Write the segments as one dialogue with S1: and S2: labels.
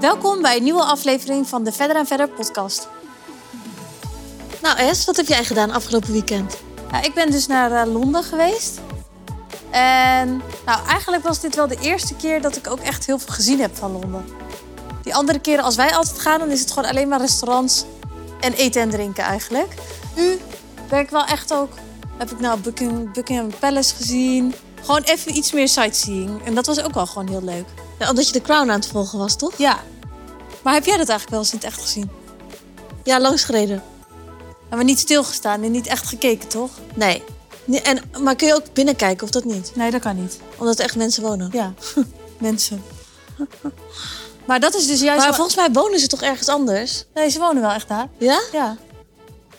S1: Welkom bij een nieuwe aflevering van de Verder en Verder podcast.
S2: Nou Es, wat heb jij gedaan afgelopen weekend?
S1: Nou, ik ben dus naar eh, Londen geweest. En nou, eigenlijk was dit wel de eerste keer dat ik ook echt heel veel gezien heb van Londen. Die andere keren als wij altijd gaan, dan is het gewoon alleen maar restaurants en eten en drinken eigenlijk. Nu ben ik wel echt ook, heb ik nou Buckingham, Buckingham Palace gezien. Gewoon even iets meer sightseeing. En dat was ook wel gewoon heel leuk.
S2: Nou, omdat je de Crown aan het volgen was, toch?
S1: Ja. Maar heb jij dat eigenlijk wel eens in het echt gezien?
S2: Ja, langsgereden.
S1: Ja, Maar niet stilgestaan en niet echt gekeken, toch?
S2: Nee. Nee, En, maar kun je ook binnenkijken of dat niet?
S1: Nee, dat kan niet.
S2: Omdat er echt mensen wonen.
S1: Ja, mensen. Maar dat is dus juist...
S2: Maar
S1: wel-
S2: volgens mij wonen ze toch ergens anders?
S1: Nee, ze wonen wel echt daar.
S2: Ja?
S1: Ja,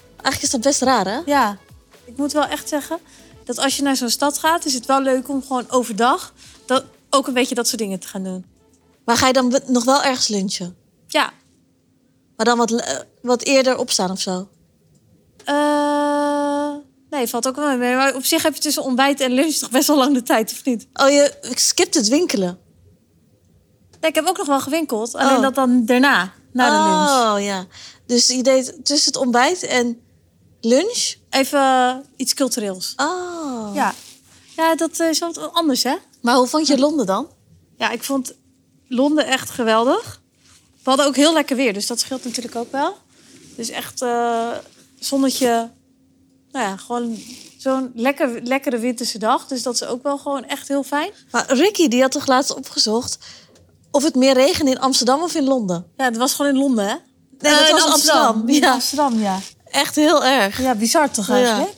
S2: Eigenlijk is dat best raar, hè?
S1: ja. Ik moet wel echt zeggen dat als je naar zo'n stad gaat... is het wel leuk om gewoon overdag dat, ook een beetje dat soort dingen te gaan doen.
S2: Maar ga je dan be- nog wel ergens lunchen?
S1: Ja.
S2: Maar dan wat, le- eh, wat eerder opstaan of zo?
S1: Eh, nee, valt ook wel mee. Maar op zich heb je tussen ontbijt en lunch toch best wel lang de tijd, of niet?
S2: Oh, je skipt het winkelen.
S1: Nee, ik heb ook nog wel gewinkeld. Alleen
S2: Oh.
S1: dat dan daarna, na de lunch.
S2: Oh, ja. Dus je deed tussen het ontbijt en lunch?
S1: Even eh, iets cultureels.
S2: Oh.
S1: Ja. Ja, dat eh, is wat anders, hè?
S2: Maar hoe vond je Londen dan?
S1: Ja, ik vond Londen echt geweldig. We hadden ook heel lekker weer, dus dat scheelt natuurlijk ook wel. Dus echt eh, zonnetje. Nou ja, gewoon zo'n lekker, lekkere winterse dag. Dus dat is ook wel gewoon echt heel fijn.
S2: Maar Ricky, die had toch laatst opgezocht of het meer regende in Amsterdam of in Londen?
S1: Ja, het was gewoon in Londen, hè?
S2: Nee,
S1: Eh,
S2: dat
S1: in
S2: was Amsterdam.
S1: In
S2: Ja.
S1: Amsterdam, ja.
S2: Echt heel erg.
S1: Ja, bizar toch
S2: Ja.
S1: eigenlijk?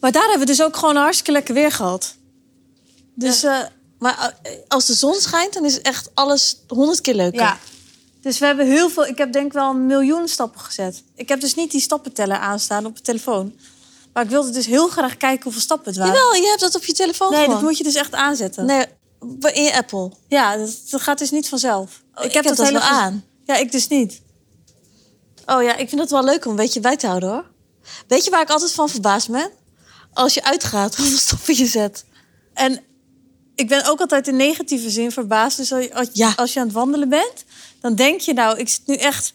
S1: Maar daar hebben we dus ook gewoon een hartstikke lekker weer gehad. Dus eh,
S2: Maar eh, als de zon schijnt, dan is echt alles honderd keer leuker.
S1: Ja. Dus we hebben heel veel. Ik heb denk ik wel een miljoen stappen gezet. Ik heb dus niet die stappenteller aanstaan op mijn telefoon. Maar ik wilde dus heel graag kijken hoeveel stappen het waren.
S2: Jawel, je hebt dat op je telefoon
S1: nee, dat
S2: gewoon.
S1: moet je dus echt aanzetten.
S2: Nee, bij- in je Apple.
S1: Ja, dat, dat gaat dus niet vanzelf.
S2: Oh, ik heb dat wel
S1: hele ge-
S2: aan.
S1: Ja, ik dus niet.
S2: Oh ja, ik vind dat wel leuk om een beetje bij te houden hoor. Weet je waar ik altijd van verbaasd ben? Als je uitgaat, hoeveel stappen je zet.
S1: En ik ben ook altijd in negatieve zin verbaasd. Dus als, als-
S2: Ja.
S1: als je aan het wandelen bent, dan denk je nou, ik zit nu echt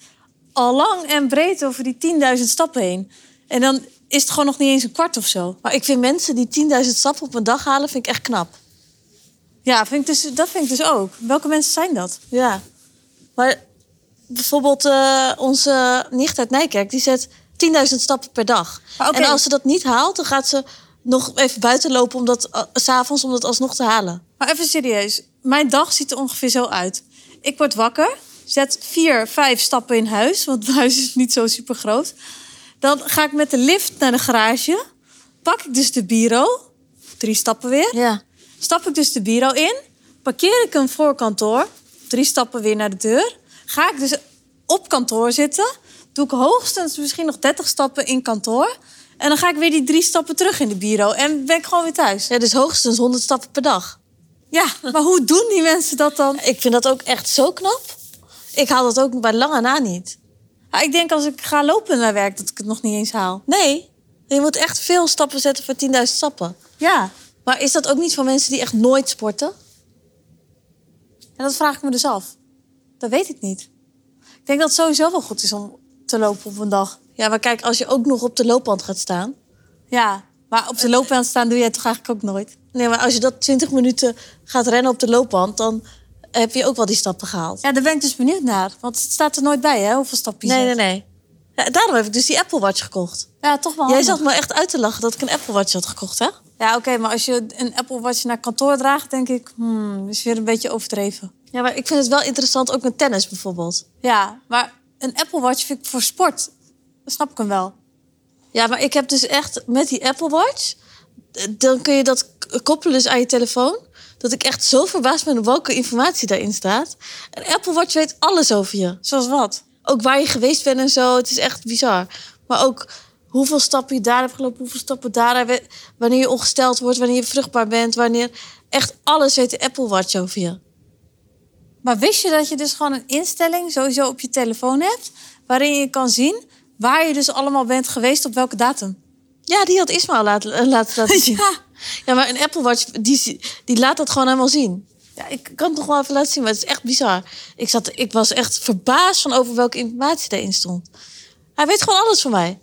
S1: al lang en breed over die 10.000 stappen heen. En dan is het gewoon nog niet eens een kwart of zo.
S2: Maar ik vind mensen die 10.000 stappen op een dag halen, vind ik echt knap.
S1: Ja, vind ik dus, dat vind ik dus ook. Welke mensen zijn dat?
S2: Ja. Maar bijvoorbeeld eh, onze nicht uit Nijkerk, die zet 10.000 stappen per dag.
S1: Maar oké.
S2: En als ze dat niet haalt, dan gaat ze nog even buiten lopen om dat, eh, s s'avonds om dat alsnog te halen.
S1: Maar even serieus. Mijn dag ziet er ongeveer zo uit. Ik word wakker, zet vier, vijf stappen in huis, want mijn huis is niet zo super groot. Dan ga ik met de lift naar de garage. Pak ik dus de bureau, drie stappen weer.
S2: Ja.
S1: Stap ik dus de bureau in, parkeer ik hem voor kantoor, drie stappen weer naar de deur. Ga ik dus op kantoor zitten, doe ik hoogstens misschien nog 30 stappen in kantoor. En dan ga ik weer die drie stappen terug in de bureau en ben ik gewoon weer thuis.
S2: ja, dus hoogstens 100 stappen per dag.
S1: Ja, maar hoe doen die mensen dat dan?
S2: Ik vind dat ook echt zo knap. Ik haal dat ook bij lange na niet.
S1: Ja, ik denk als ik ga lopen naar werk dat ik het nog niet eens haal.
S2: Nee, je moet echt veel stappen zetten voor 10.000 stappen.
S1: Ja,
S2: Maar is dat ook niet voor mensen die echt nooit sporten?
S1: en dat vraag ik me dus af. Dat weet ik niet. Ik denk dat het sowieso wel goed is om te lopen op een dag.
S2: Ja, maar kijk, als je ook nog op de loopband gaat staan...
S1: Ja, maar op de loopbaan staan doe jij het toch eigenlijk ook nooit.
S2: Nee, maar als je dat 20 minuten gaat rennen op de loopband, dan heb je ook wel die stappen gehaald.
S1: Ja, daar ben ik dus benieuwd naar. Want het staat er nooit bij, hè, hoeveel stapjes.
S2: Nee, nee, nee. Ja, daarom heb ik dus die Apple Watch gekocht.
S1: Ja, toch wel
S2: Jij
S1: handig.
S2: zat me echt uit te lachen dat ik een Apple Watch had gekocht, hè?
S1: Ja, oké, maar als je een Apple Watch naar kantoor draagt, denk ik... Hmm, is weer een beetje overdreven.
S2: Ja, maar ik vind het wel interessant, ook met tennis bijvoorbeeld.
S1: Ja, maar een Apple Watch vind ik voor sport... Snap ik hem wel.
S2: Ja, maar ik heb dus echt met die Apple Watch, eh, dan kun je dat k- koppelen dus aan je telefoon. Dat ik echt zo verbaasd ben op welke informatie daarin staat. Een Apple Watch weet alles over je.
S1: Zoals wat?
S2: ook waar je geweest bent en zo. Het is echt bizar. Maar ook hoeveel stappen je daar hebt gelopen, hoeveel stappen daar hebben. Wanneer je ongesteld wordt, wanneer je vruchtbaar bent, wanneer. Echt alles weet de Apple Watch over je.
S1: Maar wist je dat je dus gewoon een instelling sowieso op je telefoon hebt... waarin je kan zien waar je dus allemaal bent geweest op welke datum?
S2: Ja, die had Ismael laten, eh, laten, laten zien. Ja. maar een Apple Watch, die, zie- die laat dat gewoon helemaal zien. Ja, ik kan het nog wel even laten zien, maar het is echt bizar. Ik, zat, ik was echt verbaasd van over welke informatie daarin stond. Hij weet gewoon alles van mij.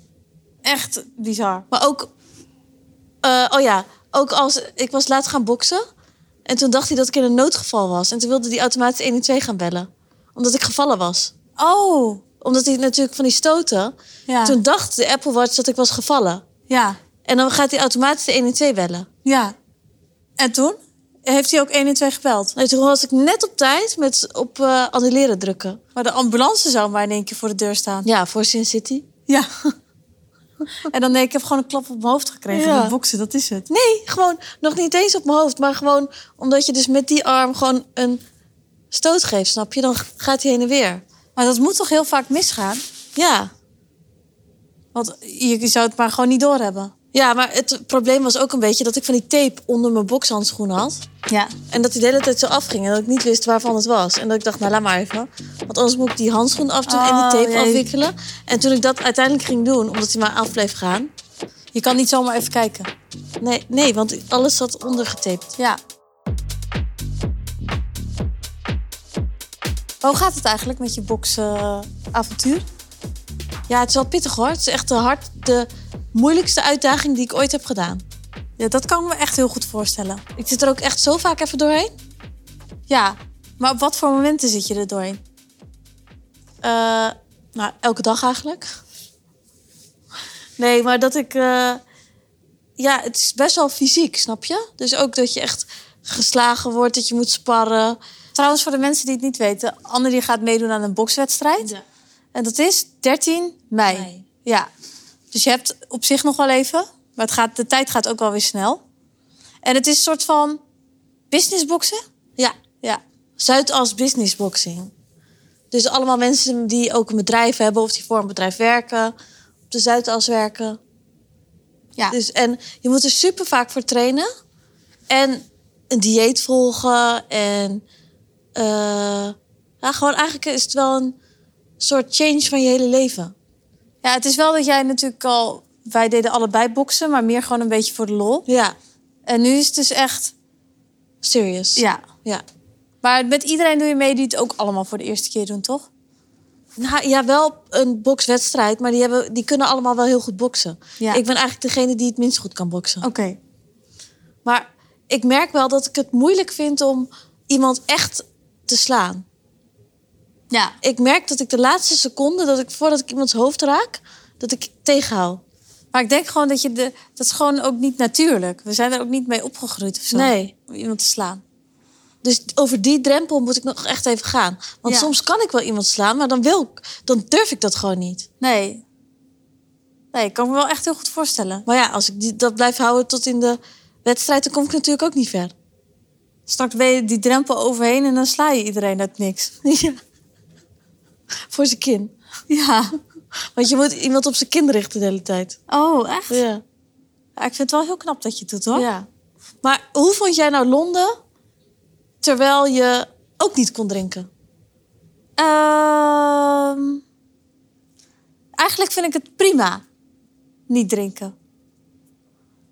S1: Echt bizar.
S2: Maar ook, eh, oh ja, ook als ik was laat gaan boksen. En toen dacht hij dat ik in een noodgeval was. En toen wilde hij automatisch 112 gaan bellen. Omdat ik gevallen was.
S1: Oh,
S2: Omdat hij natuurlijk van die stoten.
S1: ja.
S2: Toen dacht de Apple Watch dat ik was gevallen.
S1: Ja,
S2: En dan gaat hij automatisch de 112 bellen.
S1: ja. En toen? Heeft hij ook 112 gebeld?
S2: Nee, Nou, toen was ik net op tijd met op eh, annuleren drukken.
S1: Maar de ambulance zou maar in één keer voor de deur staan.
S2: Ja, voor Sin City.
S1: Ja. en dan nee, ik heb gewoon een klap op mijn hoofd gekregen
S2: Ja.
S1: met boksen, dat is het.
S2: Nee, gewoon nog niet eens op mijn hoofd. Maar gewoon omdat je dus met die arm gewoon een stoot geeft, snap je? Dan gaat hij heen en weer.
S1: Maar dat moet toch heel vaak misgaan?
S2: Ja.
S1: Want je je zou het maar gewoon niet doorhebben.
S2: Ja, maar het probleem was ook een beetje dat ik van die tape onder mijn bokshandschoen had.
S1: Ja.
S2: En dat die de hele tijd zo afging en dat ik niet wist waarvan het was. En dat ik dacht, nou laat maar even. Want anders moet ik die handschoen afdoen en
S1: Oh,
S2: die tape
S1: jee.
S2: afwikkelen. En toen ik dat uiteindelijk ging doen, omdat hij maar af bleef gaan.
S1: Je kan niet zomaar even kijken.
S2: Nee, nee, want alles zat ondergetaped.
S1: Ja. Maar hoe gaat het eigenlijk met je boksavontuur?
S2: Ja, het is wel pittig hoor. Het is echt de, hard, de moeilijkste uitdaging die ik ooit heb gedaan.
S1: Ja, dat kan ik me echt heel goed voorstellen.
S2: Ik zit er ook echt zo vaak even doorheen.
S1: Ja, maar op wat voor momenten zit je er doorheen?
S2: Eh, nou, elke dag eigenlijk. Nee, maar dat ik... eh, ja, het is best wel fysiek, snap je? Dus ook dat je echt geslagen wordt, dat je moet sparren.
S1: Trouwens, voor de mensen die het niet weten, Anne die gaat meedoen aan een bokswedstrijd. En dat is 13 mei.
S2: Mei.
S1: Ja. Dus je hebt op zich nog wel even, maar het gaat, de tijd gaat ook wel weer snel. En het is een soort van businessboksen.
S2: Ja,
S1: Ja.
S2: Zuidas Business Boxing. Dus allemaal mensen die ook een bedrijf hebben of die voor een bedrijf werken. Op de Zuidas werken.
S1: Ja.
S2: Dus, en je moet er super vaak voor trainen. En een dieet volgen. En eh, ja, gewoon eigenlijk is het wel een soort change van je hele leven.
S1: ja, het is wel dat jij natuurlijk al... Wij deden allebei boksen, maar meer gewoon een beetje voor de lol.
S2: Ja,
S1: En nu is het dus echt...
S2: serious.
S1: Ja.
S2: ja.
S1: Maar met iedereen doe je mee die het ook allemaal voor de eerste keer doen, toch?
S2: Nou, ja, wel een bokswedstrijd, maar die, hebben, die kunnen allemaal wel heel goed boksen.
S1: Ja.
S2: Ik ben eigenlijk degene die het minst goed kan boksen.
S1: Oké.
S2: Maar ik merk wel dat ik het moeilijk vind om iemand echt te slaan.
S1: Ja.
S2: Ik merk dat ik de laatste seconde, dat ik voordat ik iemands hoofd raak, dat ik tegenhoud.
S1: Maar ik denk gewoon dat je de... Dat is gewoon ook niet natuurlijk. We zijn er ook niet mee opgegroeid of zo.
S2: Nee.
S1: Om iemand te slaan.
S2: Dus over die drempel moet ik nog echt even gaan. Want
S1: Ja.
S2: soms kan ik wel iemand slaan, maar dan, wil ik, dan durf ik dat gewoon niet.
S1: Nee. Nee, ik kan me wel echt heel goed voorstellen.
S2: Maar ja, als ik die, dat blijf houden tot in de wedstrijd, dan kom ik natuurlijk ook niet ver.
S1: Straks ben je die drempel overheen en dan sla je iedereen uit niks.
S2: Ja. Voor zijn kin.
S1: Ja.
S2: Want je moet iemand op zijn kin richten de hele tijd.
S1: Oh, echt? Ja.
S2: Ja.
S1: ik vind het wel heel knap dat je het doet, hoor.
S2: ja. Maar hoe vond jij nou Londen terwijl je ook niet kon drinken?
S1: Ehm, eigenlijk vind ik het prima. Niet drinken.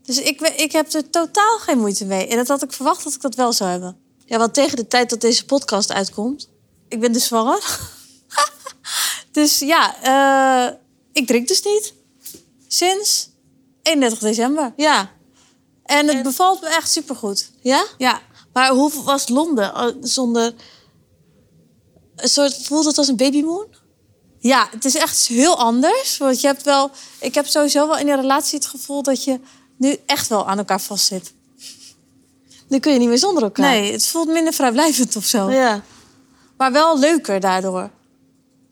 S1: Dus ik, we- ik heb er totaal geen moeite mee. En dat had ik verwacht dat ik dat wel zou hebben.
S2: Ja, want tegen de tijd dat deze podcast uitkomt.
S1: Ik ben dus zwanger. dus ja, eh, ik drink dus niet. Sinds 31 december.
S2: Ja.
S1: En het bevalt me echt supergoed.
S2: Ja?
S1: Ja,
S2: Maar hoe was Londen eh, zonder... Een soort, voelde het als een babymoon?
S1: Ja, het is echt heel anders. Want je hebt wel. Ik heb sowieso wel in een relatie het gevoel dat je nu echt wel aan elkaar vastzit.
S2: Nu kun je niet meer zonder elkaar.
S1: Nee, het voelt minder vrijblijvend of zo.
S2: Ja.
S1: Maar wel leuker daardoor.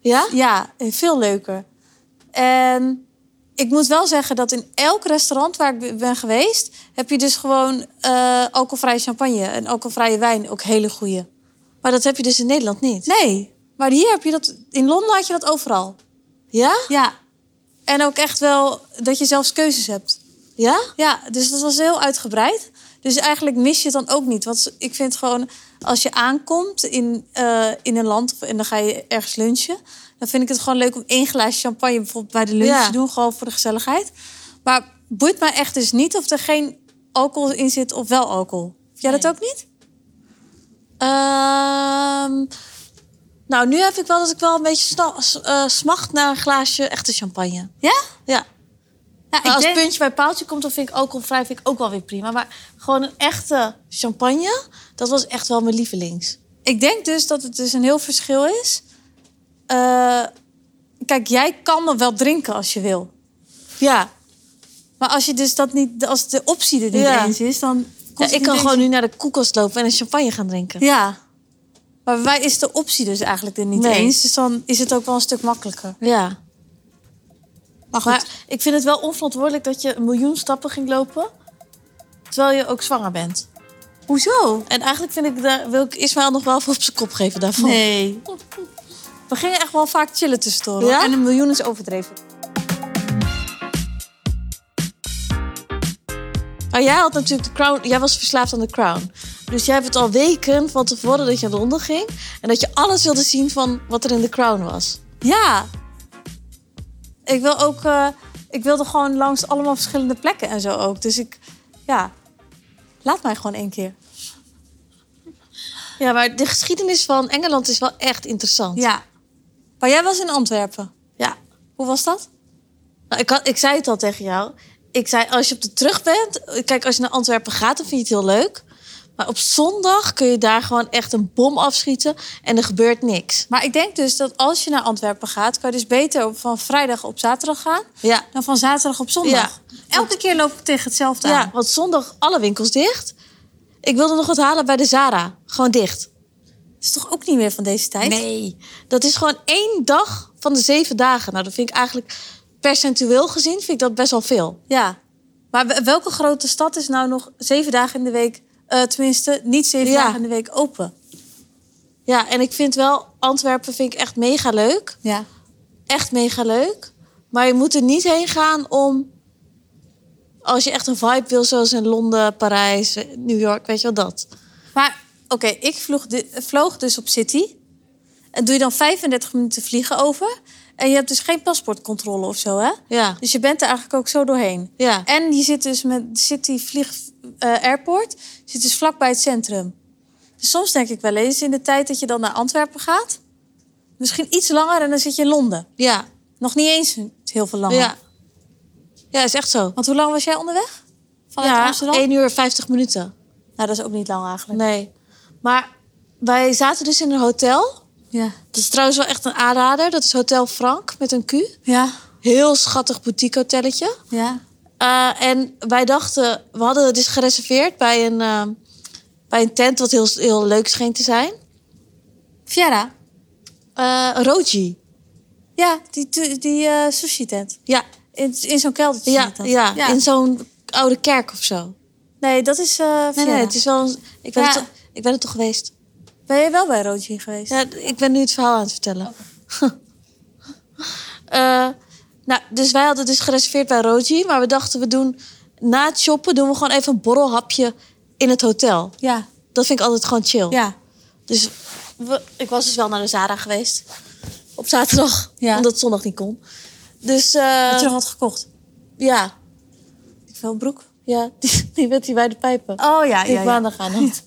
S2: Ja?
S1: Ja, veel leuker. En ik moet wel zeggen dat in elk restaurant waar ik be- ben geweest, heb je dus gewoon eh alcoholvrije champagne en alcoholvrije wijn ook hele goede.
S2: Maar dat heb je dus in Nederland niet.
S1: Nee, maar hier heb je dat. In Londen had je dat overal.
S2: Ja?
S1: Ja. En ook echt wel dat je zelfs keuzes hebt.
S2: Ja?
S1: Ja, dus dat was heel uitgebreid. Dus eigenlijk mis je het dan ook niet. Want ik vind gewoon, als je aankomt in, eh, in een land of- en dan ga je ergens lunchen, dan vind ik het gewoon leuk om één glaasje champagne bijvoorbeeld bij de lunch
S2: Ja.
S1: te doen, gewoon voor de gezelligheid. Maar boeit mij echt dus niet of er geen alcohol in zit of wel alcohol. Heb jij dat
S2: Nee.
S1: ook niet?
S2: Ehm, nou, nu heb ik wel dat ik wel een beetje sna- s- eh, smacht naar een glaasje echte champagne.
S1: Ja?
S2: Ja.
S1: Ja,
S2: Maar
S1: ik
S2: als
S1: denk-
S2: puntje bij paaltje komt, dan vind ik alcoholvrij vind ik ook wel weer prima. Maar gewoon een echte champagne, dat was echt wel mijn lievelings.
S1: Ik denk dus dat het dus een heel verschil is. Eh, kijk, jij kan me wel drinken als je wil.
S2: Ja,
S1: Maar als je dus dat niet, als de optie er niet
S2: Ja.
S1: eens is, dan. kost
S2: ja
S1: het
S2: ik kan
S1: niet
S2: gewoon nu naar de koelkast lopen en een champagne gaan drinken.
S1: eens- Ja. Maar bij mij is de optie dus eigenlijk er niet
S2: Nee.
S1: eens. Dus dan is het ook wel een stuk makkelijker.
S2: Ja.
S1: Maar goed.
S2: Maar ik vind het wel onverantwoordelijk dat je een miljoen stappen ging lopen, terwijl je ook zwanger bent.
S1: Hoezo?
S2: En eigenlijk vind ik, daar wil ik Ismaël nog wel voor op zijn kop geven daarvan.
S1: Nee. We gingen echt wel vaak chillen tussendoor. hoor.
S2: Ja?
S1: En een miljoen is overdreven.
S2: Maar jij had natuurlijk de crown. Jij was verslaafd aan de crown. Dus jij hebt het al weken van tevoren dat je naar Londen ging. En dat je alles wilde zien van wat er in de crown was.
S1: Ja. Ik wil ook. eh, ik wilde gewoon langs allemaal verschillende plekken en zo ook. Dus ik. Ja. Laat mij gewoon één keer.
S2: Ja, maar de geschiedenis van Engeland is wel echt interessant.
S1: Ja. Maar jij was in Antwerpen.
S2: Ja.
S1: Hoe was dat?
S2: Nou, ik, had, ik zei het al tegen jou. Ik zei, als je op de terug bent... Kijk, als je naar Antwerpen gaat, dan vind je het heel leuk. Maar op zondag kun je daar gewoon echt een bom afschieten... en er gebeurt niks.
S1: Maar ik denk dus dat als je naar Antwerpen gaat, kan je dus beter op- van vrijdag op zaterdag gaan
S2: Ja.
S1: dan van zaterdag op zondag. Elke keer loop ik tegen hetzelfde
S2: ja.
S1: aan.
S2: Want zondag alle winkels dicht. Ik wilde nog wat halen bij de Zara. Gewoon dicht.
S1: Dat is toch ook niet meer van deze tijd?
S2: Nee. Dat is gewoon één dag van de zeven dagen. Nou, dat vind ik eigenlijk percentueel gezien vind ik dat best wel veel.
S1: Ja. Maar we- welke grote stad is nou nog zeven dagen in de week, eh, tenminste niet zeven
S2: Ja.
S1: dagen in de week open?
S2: Ja, en ik vind wel Antwerpen vind ik echt mega leuk.
S1: Ja.
S2: Echt mega leuk. Maar je moet er niet heen gaan om als je echt een vibe wil zoals in Londen, Parijs, New York, weet je wel dat.
S1: Maar oké, ik vloog, di- vloog dus op City. En doe je dan 35 minuten vliegen over. En je hebt dus geen paspoortcontrole of zo, hè?
S2: Ja.
S1: Dus je bent er eigenlijk ook zo doorheen.
S2: Ja.
S1: En je zit dus met City Vlieg eh, Airport, zit dus vlakbij het centrum. Dus soms denk ik wel eens in de tijd dat je dan naar Antwerpen gaat, misschien iets langer en dan zit je in Londen.
S2: Ja.
S1: Nog niet eens heel veel langer.
S2: Ja. Ja, is echt zo.
S1: Want hoe lang was jij onderweg? Vanuit
S2: ja,
S1: Amsterdam?
S2: 1 uur 50 minuten.
S1: Nou, dat is ook niet lang eigenlijk.
S2: Nee. Maar wij zaten dus in een hotel.
S1: Ja.
S2: Dat is trouwens wel echt een aanrader. Dat is Hotel Frank met een Q.
S1: Ja.
S2: Heel schattig boutique hotelletje.
S1: Ja.
S2: Eh, en wij dachten, we hadden het dus gereserveerd bij een, eh, bij een tent wat heel, heel leuk scheen te zijn.
S1: Fiera?
S2: Eh Roji.
S1: Ja, die, tu- die eh, sushi-tent.
S2: Ja,
S1: In, in zo'n keldertje
S2: ja,
S1: zit dat.
S2: ja, in zo'n oude kerk of zo.
S1: Nee, dat is eh
S2: Nee,
S1: Fiera.
S2: nee, het is wel. een- Ik ben,
S1: Ja.
S2: er toch, ik ben er toch geweest.
S1: Ben je wel bij Roodje geweest?
S2: Ja, ik ben nu het verhaal aan het vertellen. Eh, nou, dus wij hadden dus gereserveerd bij Roji, maar we dachten we doen na het shoppen doen we gewoon even een borrelhapje in het hotel.
S1: Ja.
S2: Dat vind ik altijd gewoon chill.
S1: Ja.
S2: Dus we- ik was dus wel naar de Zara geweest. Op zaterdag.
S1: Ja.
S2: Omdat het zondag niet kon. Dus eh,
S1: Had je nog wat gekocht?
S2: ja,
S1: Ik wil een broek.
S2: ja die, die met die wijde pijpen.
S1: Oh ja,
S2: die ik maandag aan had.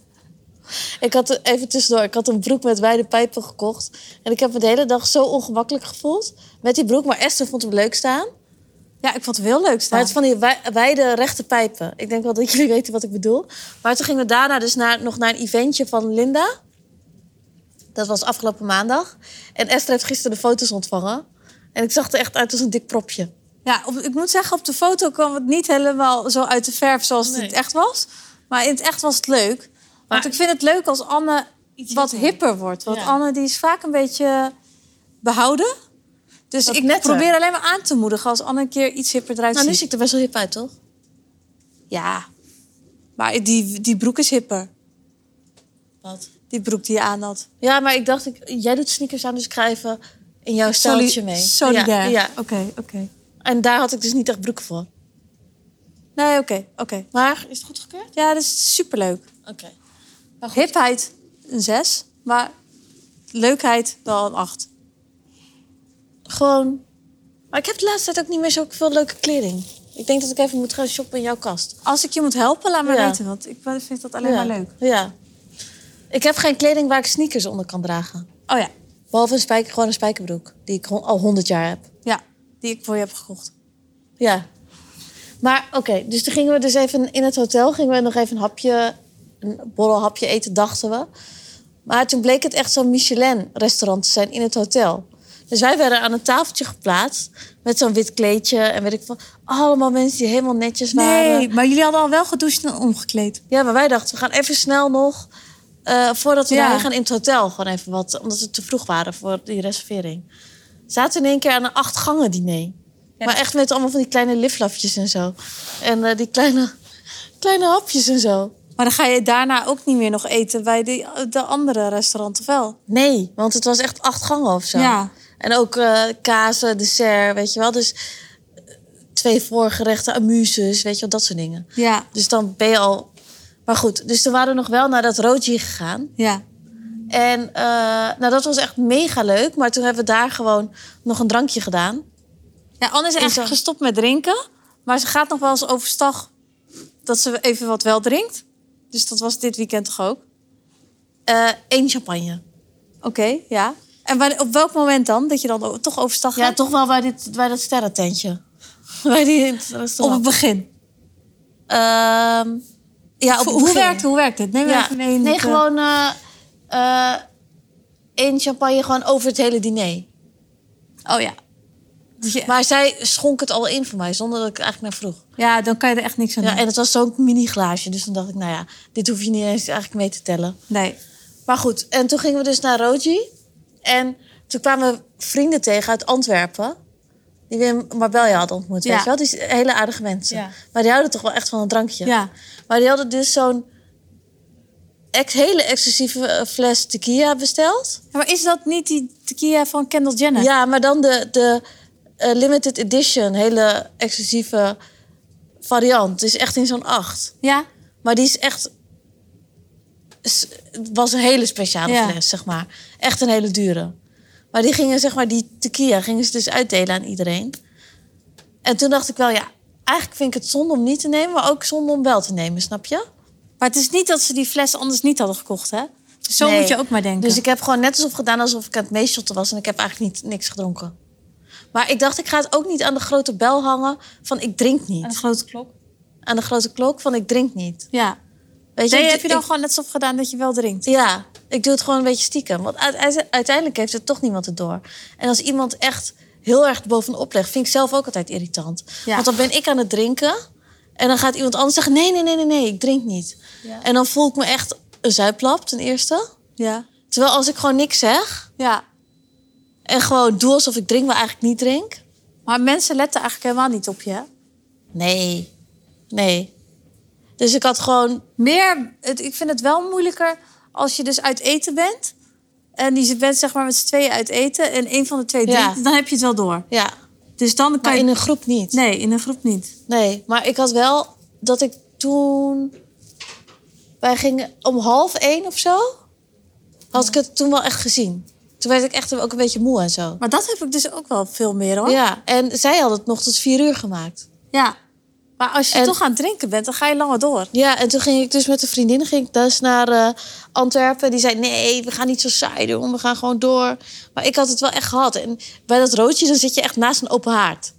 S2: Ik had er- even tussendoor, ik had een broek met wijde pijpen gekocht. En ik heb me de hele dag zo ongemakkelijk gevoeld met die broek. Maar Esther vond hem leuk staan.
S1: Ja, ik vond het heel leuk
S2: Maar
S1: staan.
S2: het is van die wij- wijde rechte pijpen. Ik denk wel dat jullie weten wat ik bedoel. Maar toen gingen we daarna dus naar, nog naar een eventje van Linda. Dat was afgelopen maandag. En Esther heeft gisteren de foto's ontvangen. En ik zag er echt uit als een dik propje.
S1: Ja, op- ik moet zeggen, op de foto kwam het niet helemaal zo uit de verf zoals het in
S2: Nee.
S1: het echt was. Maar in het echt was het leuk. Want
S2: Maar-
S1: ik vind het leuk als Anne wat hipper wordt. Want
S2: Ja.
S1: Anne die is vaak een beetje behouden. Dus
S2: Wat
S1: ik
S2: netter.
S1: probeer alleen maar aan te moedigen als Anne een keer iets hipper eruit
S2: Nou, nu
S1: ziet.
S2: zie ik er best wel hip uit, toch?
S1: Ja, maar die, die broek is hipper.
S2: Wat?
S1: Die broek die je aan had.
S2: Ja, maar ik dacht, ik, jij doet sneakers aan, dus ik ga even in
S1: Oh,
S2: jouw stijltje
S1: Soli-
S2: mee.
S1: Solidair.
S2: Ja, ja.
S1: Oké, oké.
S2: En daar had ik dus niet echt broeken voor.
S1: Nee, oké, oké.
S2: Maar is het goed gekeurd?
S1: Ja, dat is superleuk.
S2: Oké.
S1: Hipheid een 6, maar leukheid wel een 8.
S2: Gewoon. Maar ik heb de laatste tijd ook niet meer zoveel leuke kleding. Ik denk dat ik even moet gaan shoppen in jouw kast.
S1: Als ik je moet helpen, laat me
S2: Ja.
S1: weten, want ik vind dat alleen maar leuk.
S2: Ja. Ik heb geen kleding waar ik sneakers onder kan dragen.
S1: Oh ja,
S2: Behalve een spijker, gewoon een spijkerbroek. Die ik gewoon al 100 jaar heb.
S1: ja. Die ik voor je heb gekocht.
S2: Ja. Maar oké, dus toen gingen we dus even in het hotel. Gingen we nog even een hapje, een borrelhapje eten, dachten we. Maar toen bleek het echt zo'n Michelin-restaurant te zijn in het hotel. Dus wij werden aan een tafeltje geplaatst. Met zo'n wit kleedje en weet ik veel. Allemaal mensen die helemaal netjes waren.
S1: Nee, maar eh, jullie hadden al wel gedoucht en omgekleed.
S2: Ja, maar wij dachten, we gaan even snel nog. eh, voordat we
S1: Ja.
S2: daarheen gaan in het hotel, gewoon even wat. Omdat we te vroeg waren voor die reservering. We zaten in één keer aan een acht gangen diner. Maar echt met allemaal van die kleine liflafjes en zo. En eh, die kleine, kleine hapjes en zo.
S1: Maar dan ga je daarna ook niet meer nog eten bij die, de andere restaurant, of wel?
S2: Nee, want het was echt acht gangen of zo.
S1: Ja.
S2: En ook eh kazen, dessert, weet je wel. Dus eh, twee voorgerechten, amuses, weet je wel, dat soort dingen.
S1: Ja,
S2: Dus dan ben je al... Maar goed, dus toen waren we nog wel naar dat Roji gegaan.
S1: ja.
S2: En eh, nou, dat was echt mega leuk. Maar toen hebben we daar gewoon nog een drankje gedaan.
S1: Ja, Anne is echt
S2: zo-
S1: gestopt met drinken. Maar ze gaat nog wel eens overstag dat ze even wat wel drinkt. Dus dat was dit weekend toch ook?
S2: Eén Eh, champagne.
S1: Oké, ja. En wa- op welk moment dan? Dat je dan o- toch overstag
S2: Ja,
S1: gaat?
S2: toch wel bij, dit, bij dat sterrententje. bij die
S1: op het
S2: restaurant.
S1: begin.
S2: Ehm, ja,
S1: Hoe-
S2: op het
S1: hoe,
S2: begin.
S1: werkt, hoe werkt het? Neem
S2: Ja.
S1: even mee in
S2: Nee,
S1: het, eh,
S2: gewoon eh eh, één champagne gewoon over het hele diner.
S1: Oh ja. Dus je-
S2: Maar zij schonk het al in voor mij, zonder dat ik er eigenlijk naar vroeg.
S1: Ja, dan kan je er echt niks aan
S2: Ja,
S1: doen.
S2: en het was zo'n mini glaasje, dus dan dacht ik, nou ja, dit hoef je niet eens eigenlijk mee te tellen.
S1: Nee.
S2: Maar goed, en toen gingen we dus naar Roji. En toen kwamen we vrienden tegen uit Antwerpen. Die we in Marbella hadden ontmoet,
S1: Ja.
S2: weet je wel? Die hele aardige mensen.
S1: Ja.
S2: Maar die houden toch wel echt van een drankje.
S1: Ja.
S2: Maar die hadden dus zo'n ex- hele exclusieve eh, fles tequila besteld.
S1: Ja, Maar is dat niet die tequila van Kendall Jenner?
S2: Ja, maar dan de, de eh, limited edition, hele exclusieve variant. Dus echt in zo'n acht.
S1: Ja?
S2: Maar die is echt. s- Het was een hele speciale
S1: Ja.
S2: fles, zeg maar. Echt een hele dure. Maar die gingen, zeg maar, die tequila gingen ze dus uitdelen aan iedereen. En toen dacht ik wel, ja, eigenlijk vind ik het zonde om niet te nemen, maar ook zonde om wel te nemen, snap je?
S1: Maar het is niet dat ze die fles anders niet hadden gekocht, hè? Dus zo
S2: Nee.
S1: moet je ook maar denken.
S2: Dus ik heb gewoon net alsof gedaan alsof ik aan het meeshotten was en ik heb eigenlijk niet, niks gedronken. Maar ik dacht, ik ga het ook niet aan de grote bel hangen van ik drink
S1: En
S2: niet.
S1: een grote klok.
S2: Aan de grote klok van ik drink niet.
S1: Ja.
S2: Weet je,
S1: Nee,
S2: ik-
S1: heb je dan
S2: ik-
S1: gewoon net zo gedaan dat je wel drinkt?
S2: Ja, ik doe het gewoon een beetje stiekem. Want uite- uiteindelijk heeft het toch niemand het door. En als iemand echt heel erg bovenop legt, vind ik zelf ook altijd irritant.
S1: Ja.
S2: Want dan ben ik aan het drinken. En dan gaat iemand anders zeggen: nee, nee, nee, nee, nee, ik drink niet.
S1: Ja.
S2: En dan voel ik me echt een zuiplap, ten eerste.
S1: Ja.
S2: Terwijl als ik gewoon niks zeg
S1: Ja.
S2: en gewoon doe alsof ik drink, maar eigenlijk niet drink.
S1: Maar mensen letten eigenlijk helemaal niet op je. hè?
S2: Nee, nee. Dus ik had gewoon.
S1: Meer, het, ik vind het wel moeilijker als je dus uit eten bent. En je bent zeg maar met z'n tweeën uit eten. En een van de twee
S2: Ja.
S1: drinkt, dan heb je het wel door.
S2: Ja,
S1: Dus dan kan
S2: maar
S1: je...
S2: in een groep niet.
S1: Nee, in een groep niet.
S2: Nee, maar ik had wel dat ik toen. Wij gingen om half één of zo. Had ik het toen wel echt gezien. Toen werd ik echt ook een beetje moe en zo.
S1: Maar dat heb ik dus ook wel veel meer hoor.
S2: Ja, en zij had het nog tot vier uur gemaakt.
S1: Ja. Maar als je
S2: En-
S1: toch aan het drinken bent, dan ga je langer door.
S2: Ja, en toen ging ik dus met een vriendin ging ik dus naar eh, Antwerpen. Die zei, nee, we gaan niet zo saai doen. We gaan gewoon door. Maar ik had het wel echt gehad. En bij dat roodje, dan zit je echt naast een open haard.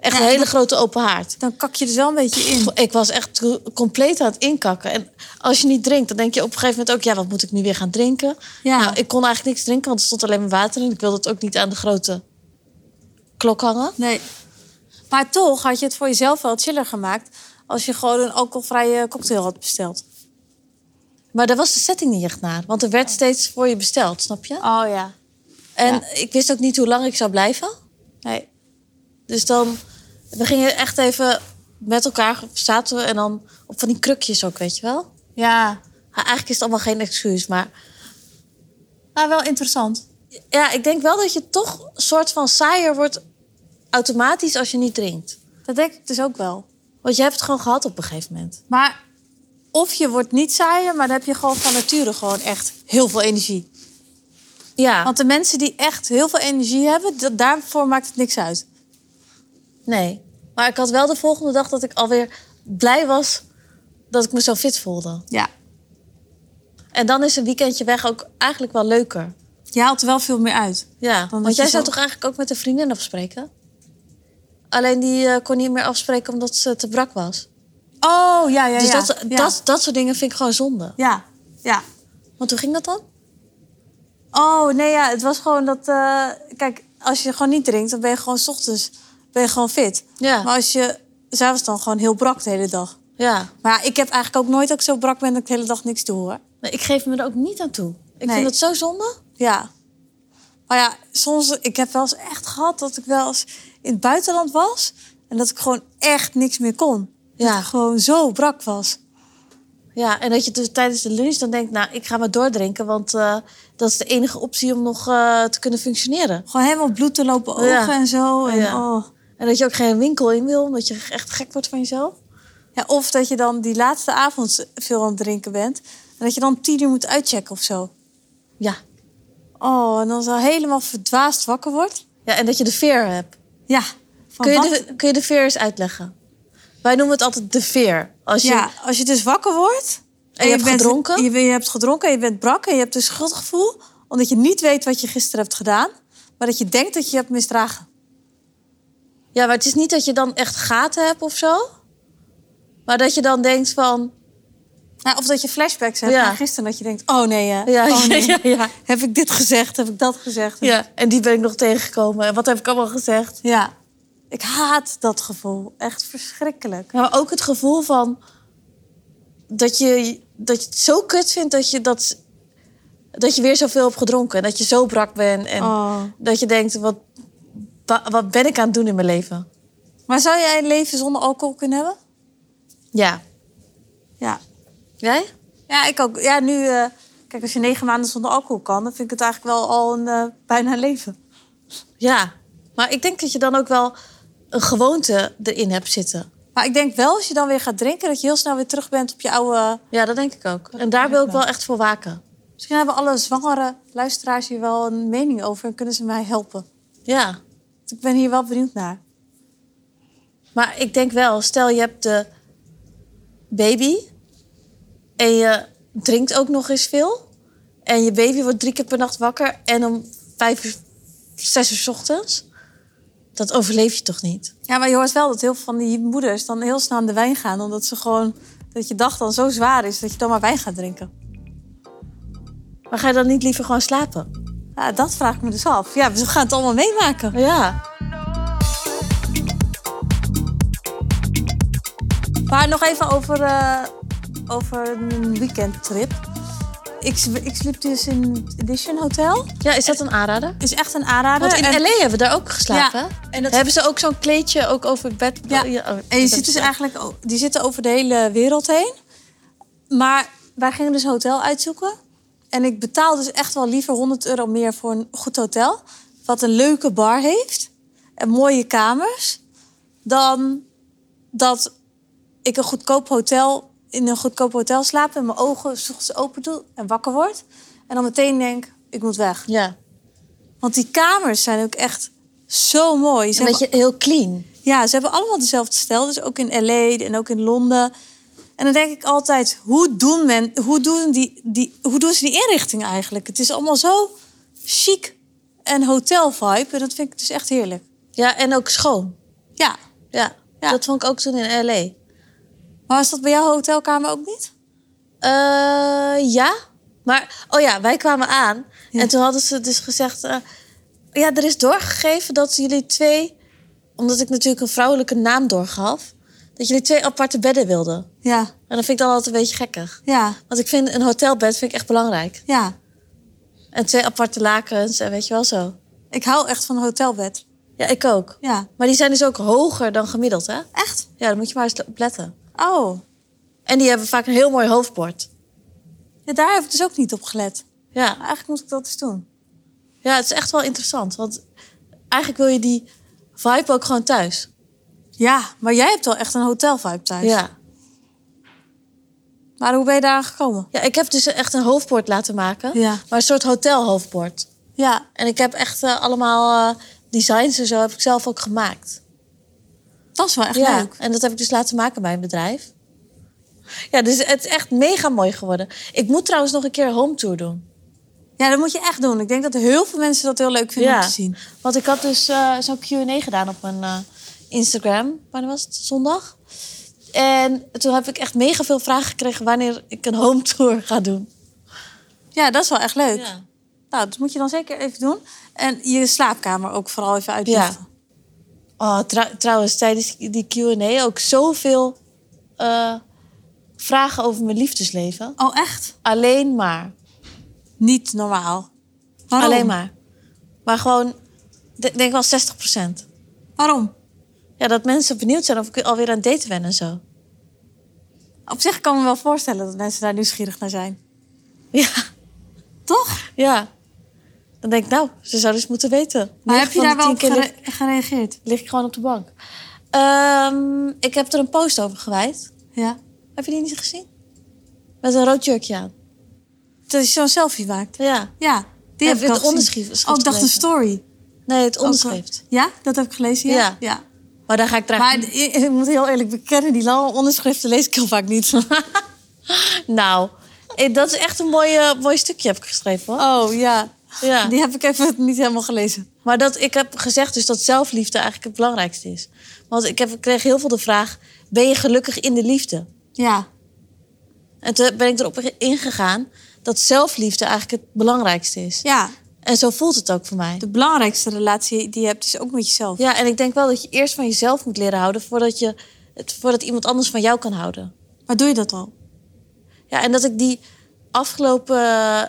S2: Echt
S1: Ja,
S2: een hele
S1: dat-
S2: grote open haard.
S1: Dan kak je dus wel een beetje in.
S2: Pff, Ik was echt co- compleet aan het inkakken. En als je niet drinkt, dan denk je op een gegeven moment ook... ja, wat moet ik nu weer gaan drinken?
S1: Ja.
S2: Nou, ik kon eigenlijk niks drinken, want er stond alleen maar water in. Ik wilde het ook niet aan de grote klok hangen.
S1: Nee. Maar toch had je het voor jezelf wel chiller gemaakt... als je gewoon een alcoholvrije cocktail had besteld.
S2: Maar daar was de setting niet echt naar. Want er werd steeds voor je besteld, snap je?
S1: Oh ja.
S2: En
S1: ja.
S2: ik wist ook niet hoe lang ik zou blijven.
S1: Nee.
S2: Dus dan... We gingen echt even met elkaar zaten we en dan op van die krukjes ook, weet je wel?
S1: Ja.
S2: Ja, Eigenlijk is het allemaal geen excuus, maar...
S1: Nou, wel interessant.
S2: Ja, ik denk wel dat je toch soort van saaier wordt automatisch als je niet drinkt.
S1: Dat denk ik dus ook wel.
S2: Want je hebt het gewoon gehad op een gegeven moment.
S1: Maar of je wordt niet saaier, maar dan heb je gewoon van nature gewoon echt heel veel energie.
S2: Ja,
S1: Want de mensen die echt heel veel energie hebben, dat, daarvoor maakt het niks uit.
S2: nee. Maar ik had wel de volgende dag dat ik alweer blij was dat ik me zo fit voelde.
S1: Ja.
S2: En dan is een weekendje weg ook eigenlijk wel leuker.
S1: Je haalt er wel veel meer uit.
S2: Ja,
S1: dat
S2: want
S1: je
S2: jij zou
S1: zo-
S2: toch eigenlijk ook met een vriendin afspreken? Alleen die eh, kon niet meer afspreken omdat ze te brak was.
S1: Oh, ja, ja,
S2: dus
S1: ja.
S2: dat,
S1: ja.
S2: Dat, dat soort dingen vind ik gewoon zonde.
S1: Ja, ja.
S2: Want hoe ging dat dan?
S1: Oh, nee, ja, het was gewoon dat... eh, kijk, als je gewoon niet drinkt, dan ben je gewoon 's ochtends ben je gewoon fit.
S2: Ja.
S1: Maar als je... Zij was dan gewoon heel brak de hele dag.
S2: Ja,
S1: Maar ja, ik heb eigenlijk ook nooit dat ik zo brak ben dat ik de hele dag niks doe, hoor.
S2: nee, ik geef me er ook niet aan toe. Ik
S1: Nee.
S2: vind dat zo zonde.
S1: Ja. Maar ja, soms... Ik heb wel eens echt gehad dat ik wel eens in het buitenland was... en dat ik gewoon echt niks meer kon. Dat
S2: Ja.
S1: ik gewoon zo brak was.
S2: Ja, en dat je dus tijdens de lunch dan denkt, nou, ik ga maar doordrinken, want eh, dat is de enige optie om nog eh, te kunnen functioneren.
S1: Gewoon helemaal bloed te lopen ogen
S2: Ja.
S1: en zo. En,
S2: Ja.
S1: oh.
S2: En dat je ook geen winkel in wil, omdat je echt gek wordt van jezelf.
S1: Ja, of dat je dan die laatste avond veel aan het drinken bent. En dat je dan tien uur moet uitchecken of zo.
S2: Ja.
S1: Oh, en dan zo helemaal verdwaasd wakker wordt.
S2: ja en dat je de veer hebt.
S1: Ja. Van
S2: Kun je,
S1: Oh, wat-
S2: de, kun je de veer eens uitleggen? Wij noemen het altijd de veer. Als je,
S1: ja, als je dus wakker wordt.
S2: En je hebt gedronken?
S1: Je, je hebt gedronken en je bent brak. En je hebt een schuldgevoel. Omdat je niet weet wat je gisteren hebt gedaan. Maar dat je denkt dat je je hebt misdragen.
S2: ja, maar het is niet dat je dan echt gaten hebt of zo. Maar dat je dan denkt van...
S1: Ja, Nou, of dat je flashbacks hebt
S2: Ja.
S1: van gisteren. Dat je denkt, oh nee, hè.
S2: Ja,
S1: oh, nee.
S2: ja, ja.
S1: Heb ik dit gezegd? Heb ik dat gezegd?
S2: Ja, en die ben ik nog tegengekomen. En wat heb ik allemaal gezegd?
S1: Ja. Ik haat dat gevoel. Echt verschrikkelijk.
S2: Ja, maar ook het gevoel van dat je, dat je het zo kut vindt dat je, dat, dat je weer zoveel hebt gedronken. En dat je zo brak bent. En
S1: Oh.
S2: dat je denkt, wat, wa- wat ben ik aan het doen in mijn leven?
S1: Maar zou jij een leven zonder alcohol kunnen hebben?
S2: Ja.
S1: Ja.
S2: Jij?
S1: Ja, ik ook. Ja, nu... eh, kijk, als je negen maanden zonder alcohol kan... dan vind ik het eigenlijk wel al een eh, bijna leven.
S2: Ja. Maar ik denk dat je dan ook wel een gewoonte erin hebt zitten.
S1: Maar ik denk wel, als je dan weer gaat drinken... dat je heel snel weer terug bent op je oude...
S2: Ja, dat denk ik ook. En daar wil ik wel echt voor waken.
S1: Misschien hebben alle zwangere luisteraars hier wel een mening over... en kunnen ze mij helpen.
S2: Ja.
S1: Want Ik ben hier wel benieuwd naar.
S2: Maar ik denk wel, stel je hebt de baby en je drinkt ook nog eens veel. En je baby wordt drie keer per nacht wakker en om vijf uur, zes uur 's ochtends. Dat overleef je toch niet?
S1: Ja, maar je hoort wel dat heel veel van die moeders... dan heel snel aan de wijn gaan. Omdat ze gewoon... dat je dag dan zo zwaar is... dat je dan maar wijn gaat drinken.
S2: Maar ga je dan niet liever gewoon slapen?
S1: Ja, dat vraag ik me dus af. Ja, we gaan het allemaal meemaken.
S2: Ja.
S1: Maar nog even over, eh, over een weekendtrip. Ik, s- ik sliep dus in het Edition Hotel.
S2: Ja, is dat een aanrader?
S1: Is echt een aanrader.
S2: Want in
S1: en,
S2: LA hebben we daar ook geslapen.
S1: Ja,
S2: hè?
S1: en dat-
S2: Hebben ze ook zo'n kleedje ook over het bed?
S1: Ja,
S2: oh,
S1: en je
S2: dat
S1: ziet dus
S2: is-
S1: eigenlijk, o- die zitten over de hele wereld heen. Maar wij gingen dus een hotel uitzoeken. En ik betaal dus echt wel liever 100 euro meer voor een goed hotel. Wat een leuke bar heeft. En mooie kamers. Dan dat ik een goedkoop hotel in een goedkoop hotel slaap en mijn ogen 's ochtends open doe en wakker word. En dan meteen denk, ik moet weg.
S2: Ja,
S1: Want die kamers zijn ook echt zo mooi. Ze
S2: een
S1: hebben
S2: beetje heel clean.
S1: ja, ze hebben allemaal dezelfde stijl. Dus ook in LA en ook in Londen. En dan denk ik altijd, hoe doen, men, hoe doen, die, die, hoe doen ze die inrichting eigenlijk? Het is allemaal zo chic en hotel-vibe. En dat vind ik dus echt heerlijk.
S2: Ja, en ook schoon.
S1: Ja.
S2: Ja,
S1: Ja.
S2: dat vond ik ook toen in L.A.
S1: Maar was dat bij jouw hotelkamer ook niet?
S2: Eh, ja, maar oh ja, wij kwamen aan
S1: Ja.
S2: en toen hadden ze dus gezegd, eh, ja, er is doorgegeven dat jullie twee, omdat ik natuurlijk een vrouwelijke naam doorgaf, dat jullie twee aparte bedden wilden.
S1: Ja.
S2: En dat vind ik dan altijd een beetje gekkig,
S1: Ja.
S2: want ik vind een hotelbed vind ik echt belangrijk.
S1: Ja.
S2: En twee aparte lakens en weet je wel zo.
S1: Ik hou echt van een hotelbed.
S2: Ja, ik ook.
S1: Ja.
S2: Maar die zijn dus ook hoger dan gemiddeld, hè?
S1: Echt?
S2: Ja, daar moet je maar eens op letten.
S1: Oh.
S2: En die hebben vaak een heel mooi hoofdbord.
S1: Ja, daar heb ik dus ook niet op gelet.
S2: Ja.
S1: Maar eigenlijk moet ik dat eens doen.
S2: Ja, het is echt wel interessant. Want eigenlijk wil je die vibe ook gewoon thuis.
S1: Ja, maar jij hebt wel echt een hotelvibe thuis.
S2: Ja.
S1: Maar hoe ben je daar gekomen?
S2: ja, ik heb dus echt een hoofdbord laten maken.
S1: Ja.
S2: Maar een soort hotelhoofdbord.
S1: Ja.
S2: En ik heb echt eh, allemaal eh, designs en zo heb ik zelf ook gemaakt.
S1: Dat is wel echt
S2: ja.
S1: leuk.
S2: En dat heb ik dus laten maken bij een bedrijf. Ja, dus het is echt mega mooi geworden. Ik moet trouwens nog een keer home tour doen.
S1: Ja, dat moet je echt doen. Ik denk dat heel veel mensen dat heel leuk vinden om te zien.
S2: Want ik had dus eh, zo'n Q&A gedaan op mijn eh, Instagram. Wanneer was het? Zondag. En toen heb ik echt mega veel vragen gekregen wanneer ik een home tour ga doen.
S1: Ja, dat is wel echt leuk. Nou, dat moet je dan zeker even doen. En je slaapkamer ook vooral even uitlichten.
S2: Oh, trou- trouwens, tijdens die Q&A ook zoveel eh, vragen over mijn liefdesleven.
S1: Oh, echt?
S2: Alleen maar.
S1: Niet normaal. Waarom?
S2: Alleen maar. Maar gewoon, ik denk wel 60%.
S1: Waarom?
S2: Ja, dat mensen benieuwd zijn of ik alweer aan het daten ben en zo.
S1: Op zich kan ik me wel voorstellen dat mensen daar nieuwsgierig naar zijn.
S2: Ja,
S1: Toch?
S2: ja. Dan denk ik, nou, ze zouden eens moeten weten.
S1: Maar
S2: Negen
S1: heb je
S2: van de
S1: daar wel
S2: tien
S1: op
S2: keer lig,
S1: gere- gereageerd?
S2: lig ik gewoon op de bank. Ehm, ik heb er een post over gewijd.
S1: Ja.
S2: Heb je die niet gezien? Met een rood jurkje aan.
S1: Dat je zo'n selfie maakt?
S2: Ja.
S1: Ja. Die
S2: Ja,
S1: heb ik
S2: het
S1: al gezien.
S2: onderschrift- schrift
S1: Oh, ik dacht een
S2: gelezen.
S1: story.
S2: Nee, het
S1: Onderschrift.
S2: onderschrift.
S1: ja, dat heb ik gelezen, ja.
S2: Ja. Maar daar ga ik
S1: Maar
S2: dragen.
S1: ik, ik moet heel eerlijk bekennen, die lange onderschriften lees ik heel vaak niet.
S2: Nou, eh, dat is echt een mooi, eh, mooi stukje heb ik geschreven hoor.
S1: Oh, ja.
S2: Ja.
S1: Die heb ik even niet helemaal gelezen.
S2: Maar dat, ik heb gezegd dus dat zelfliefde eigenlijk het belangrijkste is. Want ik, heb, ik kreeg heel veel de vraag, ben je gelukkig in de liefde?
S1: Ja.
S2: En toen ben ik erop ingegaan dat zelfliefde eigenlijk het belangrijkste is.
S1: Ja,
S2: En zo voelt het ook voor mij.
S1: de belangrijkste relatie die je hebt is ook met jezelf.
S2: Ja, en ik denk wel dat je eerst van jezelf moet leren houden voordat, je, het, voordat iemand anders van jou kan houden.
S1: Maar doe je dat al?
S2: Ja, en dat ik die afgelopen eh,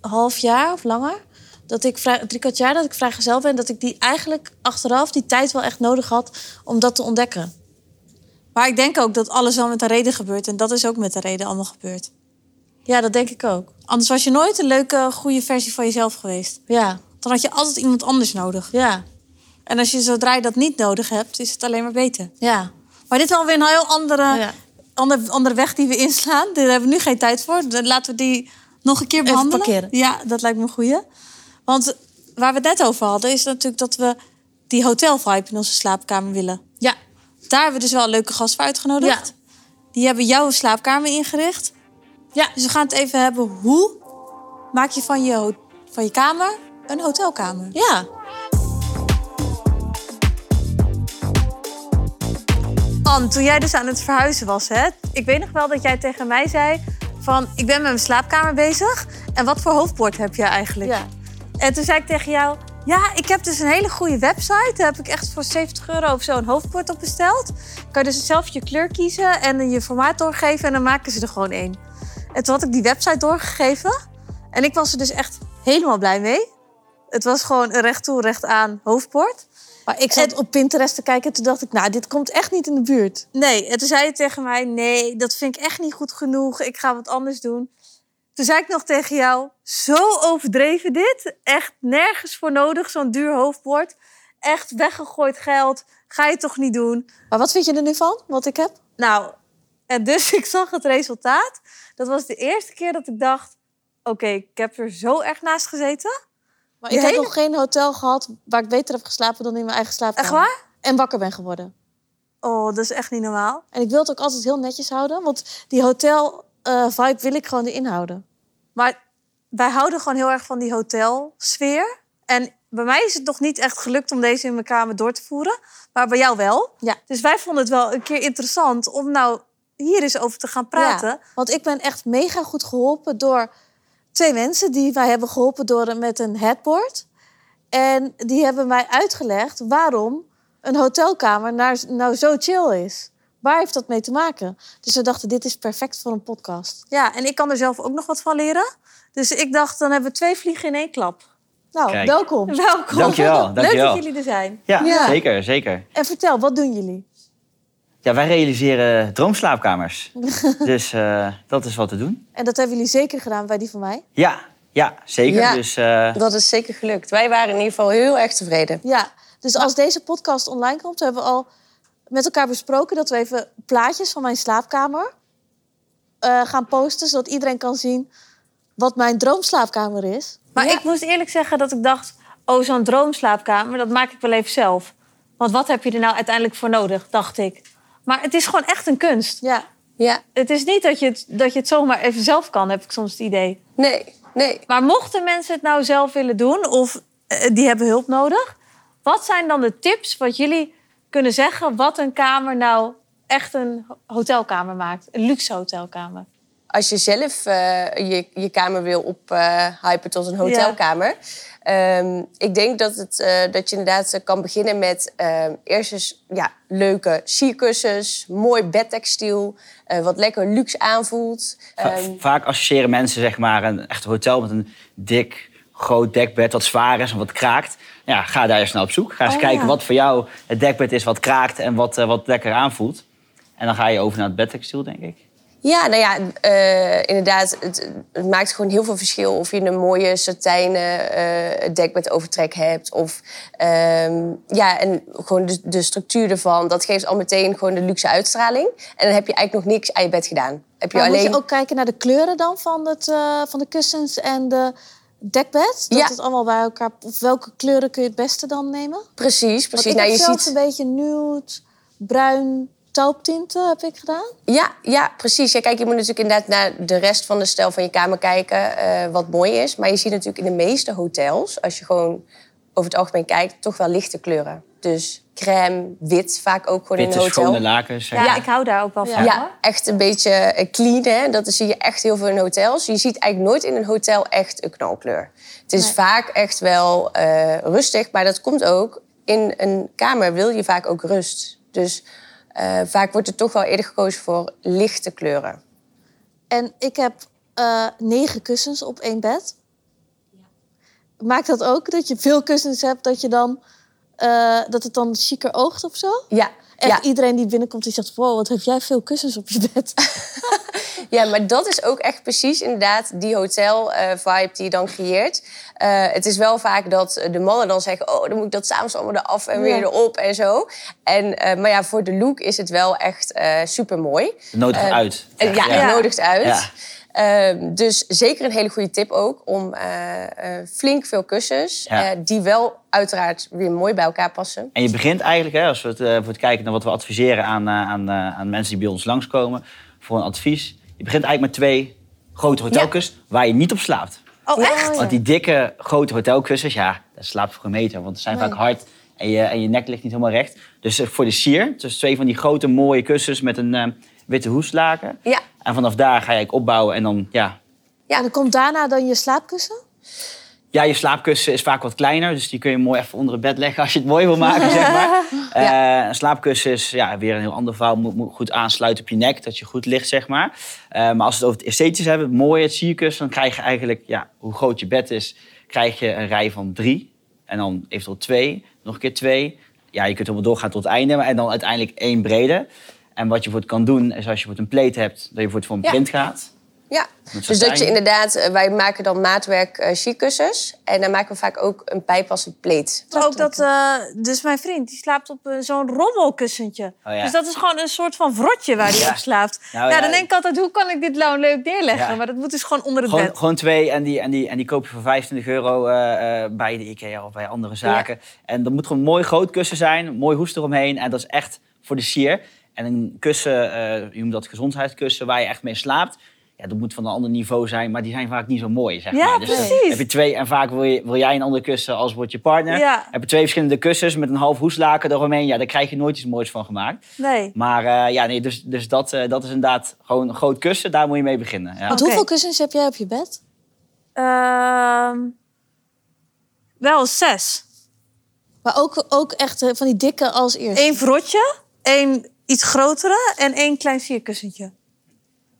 S2: half jaar of langer, dat ik vrij, drie kwart jaar dat ik vrijgezel ben, dat ik die eigenlijk achteraf die tijd wel echt nodig had om dat te ontdekken.
S1: Maar ik denk ook dat alles wel met een reden gebeurt. En dat is ook met een reden allemaal gebeurd.
S2: Ja, dat denk ik ook.
S1: Anders was je nooit een leuke, goede versie van jezelf geweest.
S2: Ja,
S1: Dan had je altijd iemand anders nodig.
S2: ja,
S1: En als je zodra je dat niet nodig hebt, is het alleen maar beter.
S2: ja.
S1: Maar dit is alweer een heel andere,
S2: Ja.
S1: ander, andere weg die we inslaan. Daar hebben we nu geen tijd voor. Dan Laten we die nog een keer behandelen.
S2: parkeren.
S1: Ja, dat lijkt me een goeie. Want waar we het net over hadden, is natuurlijk dat we die hotelvibe in onze slaapkamer willen.
S2: Ja,
S1: Daar hebben we dus wel een leuke gast voor uitgenodigd. Die hebben jouw slaapkamer ingericht.
S2: ja,
S1: Dus we gaan het even hebben. Hoe maak je van je, ho- van je kamer een hotelkamer?
S2: ja.
S1: Anne, toen jij dus aan het verhuizen was, hè, ik weet nog wel dat jij tegen mij zei van ik ben met mijn slaapkamer bezig en wat voor hoofdbord heb jij eigenlijk?
S2: Ja.
S1: En toen zei ik tegen jou, ja, ik heb dus een hele goede website. Daar heb ik echt voor 70 euro of zo een hoofdbord op besteld. Kan je dus zelf je kleur kiezen en je formaat doorgeven en dan maken ze er gewoon één. En toen had ik die website doorgegeven en ik was er dus echt helemaal blij mee. Het was gewoon een recht toe, recht aan hoofdbord.
S2: Maar ik zat
S1: En-
S2: op Pinterest te kijken en toen dacht ik, nou, dit komt echt niet in de buurt.
S1: Nee, en toen zei je tegen mij: Nee, dat vind ik echt niet goed genoeg. Ik ga wat anders doen. Toen zei ik nog tegen jou: Zo overdreven dit. Echt nergens voor nodig, zo'n duur hoofdbord. Echt weggegooid geld. Ga je toch niet doen?
S2: Maar wat vind je er nu van, wat ik heb?
S1: Nou, en dus ik zag het resultaat. Dat was de eerste keer dat ik dacht: Oké, ik heb er zo erg naast gezeten.
S2: Maar
S1: Je
S2: ik heb
S1: hele-
S2: nog geen hotel gehad waar ik beter heb geslapen dan in mijn eigen slaapkamer.
S1: Echt waar?
S2: En wakker ben geworden.
S1: Oh, dat is echt niet normaal.
S2: En ik wil het ook altijd heel netjes houden, want die hotel eh, vibe wil ik gewoon erin houden.
S1: Maar wij houden gewoon heel erg van die hotelsfeer. En bij mij is het nog niet echt gelukt om deze in mijn kamer door te voeren. Maar bij jou wel.
S2: Ja.
S1: Dus wij vonden het wel een keer interessant om nou hier eens over te gaan praten.
S2: Ja, want ik ben echt mega goed geholpen door twee mensen die mij hebben geholpen door een- met een headboard. En die hebben mij uitgelegd waarom een hotelkamer nou, nou zo chill is. Waar heeft dat mee te maken? Dus we dachten, dit is perfect voor een podcast.
S1: Ja, en ik kan er zelf ook nog wat van leren. Dus ik dacht, dan hebben we twee vliegen in één klap.
S2: Nou,
S3: Kijk.
S2: welkom.
S1: Welkom.
S3: Dankjewel,
S1: Leuk
S3: dankjewel.
S1: dat jullie er zijn.
S3: Ja,
S2: Ja.
S3: zeker, zeker.
S2: En vertel, wat doen jullie?
S3: Ja, wij realiseren droomslaapkamers. dus eh, dat is wat te doen.
S2: En dat hebben jullie zeker gedaan bij die van mij.
S3: Ja, ja zeker.
S4: Ja.
S3: Dus eh,
S4: Dat is zeker gelukt. Wij waren in ieder geval heel erg tevreden.
S2: Ja, dus als deze podcast online komt, hebben we al met elkaar besproken dat we even plaatjes van mijn slaapkamer eh, gaan posten, zodat iedereen kan zien wat mijn droomslaapkamer is.
S1: Maar ik moest eerlijk zeggen dat ik dacht... oh, zo'n droomslaapkamer, dat maak ik wel even zelf. Want wat heb je er nou uiteindelijk voor nodig, dacht ik. Maar het is gewoon echt een kunst.
S2: Ja,
S4: Ja,
S1: Het is niet dat je het, dat je het zomaar even zelf kan, heb ik soms het idee.
S4: nee, nee.
S1: Maar mochten mensen het nou zelf willen doen of eh, die hebben hulp nodig, wat zijn dan de tips wat jullie kunnen zeggen wat een kamer nou echt een ho- hotelkamer maakt? Een luxe hotelkamer.
S4: Als je zelf eh, je, je kamer wil ophypen tot een hotelkamer. ehm, ik denk dat, het, eh, dat je inderdaad eh, kan beginnen met ehm, eerst eens ja, leuke sierkussens, mooi bedtextiel, eh, wat lekker luxe aanvoelt.
S3: Va-
S4: Ehm,
S3: Vaak associëren mensen zeg maar, een echt hotel met een dik, groot dekbed wat zwaar is en wat kraakt. Ja, ga daar eens naar op zoek. Ga eens
S1: Oh,
S3: kijken
S1: ja.
S3: wat voor jou het dekbed is wat kraakt en wat, eh, wat lekker aanvoelt. En dan ga je over naar het bedtextiel, denk ik.
S4: Ja, nou ja, eh, inderdaad. Het, het maakt gewoon heel veel verschil of je een mooie satijnen eh dek met overtrek hebt. Of ehm, ja, en gewoon de, de structuur ervan. Dat geeft al meteen gewoon de luxe uitstraling. En dan heb je eigenlijk nog niks aan je bed gedaan. Heb je
S2: Maar
S4: alleen...
S2: moet je ook kijken naar de kleuren dan van, het, eh, van de kussens en de dekbed? Dat
S4: Ja.
S2: het allemaal bij elkaar... Of welke kleuren kun je het beste dan nemen?
S4: Precies,
S2: Want
S4: precies.
S2: ik
S4: Nou,
S2: heb
S4: je
S2: zelf
S4: ziet...
S2: een beetje nude, bruin tauptinten heb ik gedaan.
S4: Ja, ja, precies. Ja, kijk, je moet natuurlijk inderdaad naar de rest van de stijl van je kamer kijken, eh, wat mooi is. Maar je ziet natuurlijk in de meeste hotels, als je gewoon over het algemeen kijkt, toch wel lichte kleuren. Dus crème, wit, vaak ook gewoon in
S3: Witte,
S4: een hotel.
S3: schone lakens. zeg
S1: Ja,
S3: maar.
S1: ik hou daar ook wel van. hoor.
S4: Ja, echt een beetje eh, clean, hè. Dat zie je echt heel veel in hotels. Je ziet eigenlijk nooit in een hotel echt een knalkleur. Het is vaak echt wel eh, rustig, maar dat komt ook... In een kamer wil je vaak ook rust. Dus eh, vaak wordt er toch wel eerder gekozen voor lichte kleuren.
S2: En ik heb eh, negen kussens op één bed. Maakt dat ook dat je veel kussens hebt, dat, je dan, eh, dat het dan chiquer oogt of zo?
S4: Ja,
S2: Echt
S4: ja.
S2: iedereen die binnenkomt, die zegt... wow, wat heb jij veel kussens op je bed.
S4: ja, maar dat is ook echt precies inderdaad die hotel-vibe die je dan creëert. Eh, het is wel vaak dat eh, de mannen dan zeggen... oh, dan moet ik dat s'avonds allemaal eraf en weer
S2: Ja.
S4: erop en zo. En, eh, maar ja, voor de look is het wel echt super mooi.
S3: Het nodigt uit.
S4: En ja,
S3: Ja.
S4: het nodigt uit.
S3: Ja.
S4: Ehm, dus zeker een hele goede tip ook om eh, eh, flink veel kussens...
S3: Ja.
S4: eh, die wel uiteraard weer mooi bij elkaar passen.
S3: En je begint eigenlijk, hè, als we het, eh, voor het kijken naar wat we adviseren aan, eh, aan, eh, aan mensen die bij ons langskomen voor een advies. Je begint eigenlijk met twee grote hotelkussens waar je niet op slaapt.
S1: Oh, echt?
S3: Want die dikke, grote hotelkussens, ja, daar slaapt voor geen meter. Want ze zijn vaak hard en je, en je nek ligt niet helemaal recht. Dus eh, voor de sier, dus twee van die grote mooie kussens met een eh, witte hoeslaken.
S4: Ja.
S3: En vanaf daar ga je eigenlijk opbouwen en dan, ja...
S4: Ja.
S2: En dan komt daarna dan je slaapkussen.
S3: Ja, je slaapkussen is vaak wat kleiner, dus die kun je mooi even onder het bed leggen als je het mooi wil maken, zeg maar. Eh, een slaapkussen is ja, weer een heel ander verhaal. Moet, moet goed aansluiten op je nek, dat je goed ligt, zeg maar. Eh, maar als we het over het esthetisch hebben, het mooie, het sierkussen... dan krijg je eigenlijk, ja, hoe groot je bed is, krijg je een rij van drie. En dan eventueel twee, nog een keer twee. Ja, je kunt helemaal doorgaan tot het einde. maar- En dan uiteindelijk één brede. En wat je voor het kan doen, is als je voor een pleet hebt... dat je voor het voor een
S4: Ja.
S3: print gaat.
S4: Ja,
S3: Met
S4: dus dat je
S3: satijn.
S4: inderdaad, eh, wij maken dan maatwerk eh chickussens. En dan maken we vaak ook een bijpassend pleed.
S1: Maar ook dat, eh, dus mijn vriend, die slaapt op eh, zo'n rommelkussentje.
S3: Oh ja.
S1: Dus dat is gewoon een soort van vrotje waar hij
S3: Ja.
S1: op slaapt.
S3: Nou
S1: ja,
S3: ja,
S1: dan
S3: ik-
S1: denk ik altijd, hoe kan ik dit nou leuk neerleggen?
S3: Ja.
S1: Maar dat moet dus gewoon onder het
S3: Gewoon,
S1: bed.
S3: gewoon twee en die, en, die, en die koop je voor 25 euro eh, eh, bij de IKEA of bij andere zaken. En dat moet gewoon een mooi groot kussen zijn, een mooi hoest eromheen. En dat is echt voor de sier. En een kussen, eh je noemt dat gezondheidskussen, waar je echt mee slaapt. Ja, dat moet van een ander niveau zijn, maar die zijn vaak niet zo mooi, zeg
S1: Ja,
S3: maar. dan
S1: precies.
S3: heb je twee en vaak wil, je, wil jij een ander kussen als wordt je partner.
S1: Ja.
S3: Heb je twee verschillende kussens met een half hoeslaken eromheen. Ja, daar krijg je nooit iets moois van gemaakt.
S1: Nee.
S3: Maar eh, ja, nee, dus, dus dat, eh, dat is inderdaad gewoon een groot kussen. Daar moet je mee beginnen. Ja.
S2: Want
S1: Oké.
S2: hoeveel kussens heb jij op je bed?
S1: Ehm, wel zes.
S2: Maar ook, ook echt eh, van die dikke als eerste.
S1: Eén vrotje, één iets grotere en één klein sierkussentje.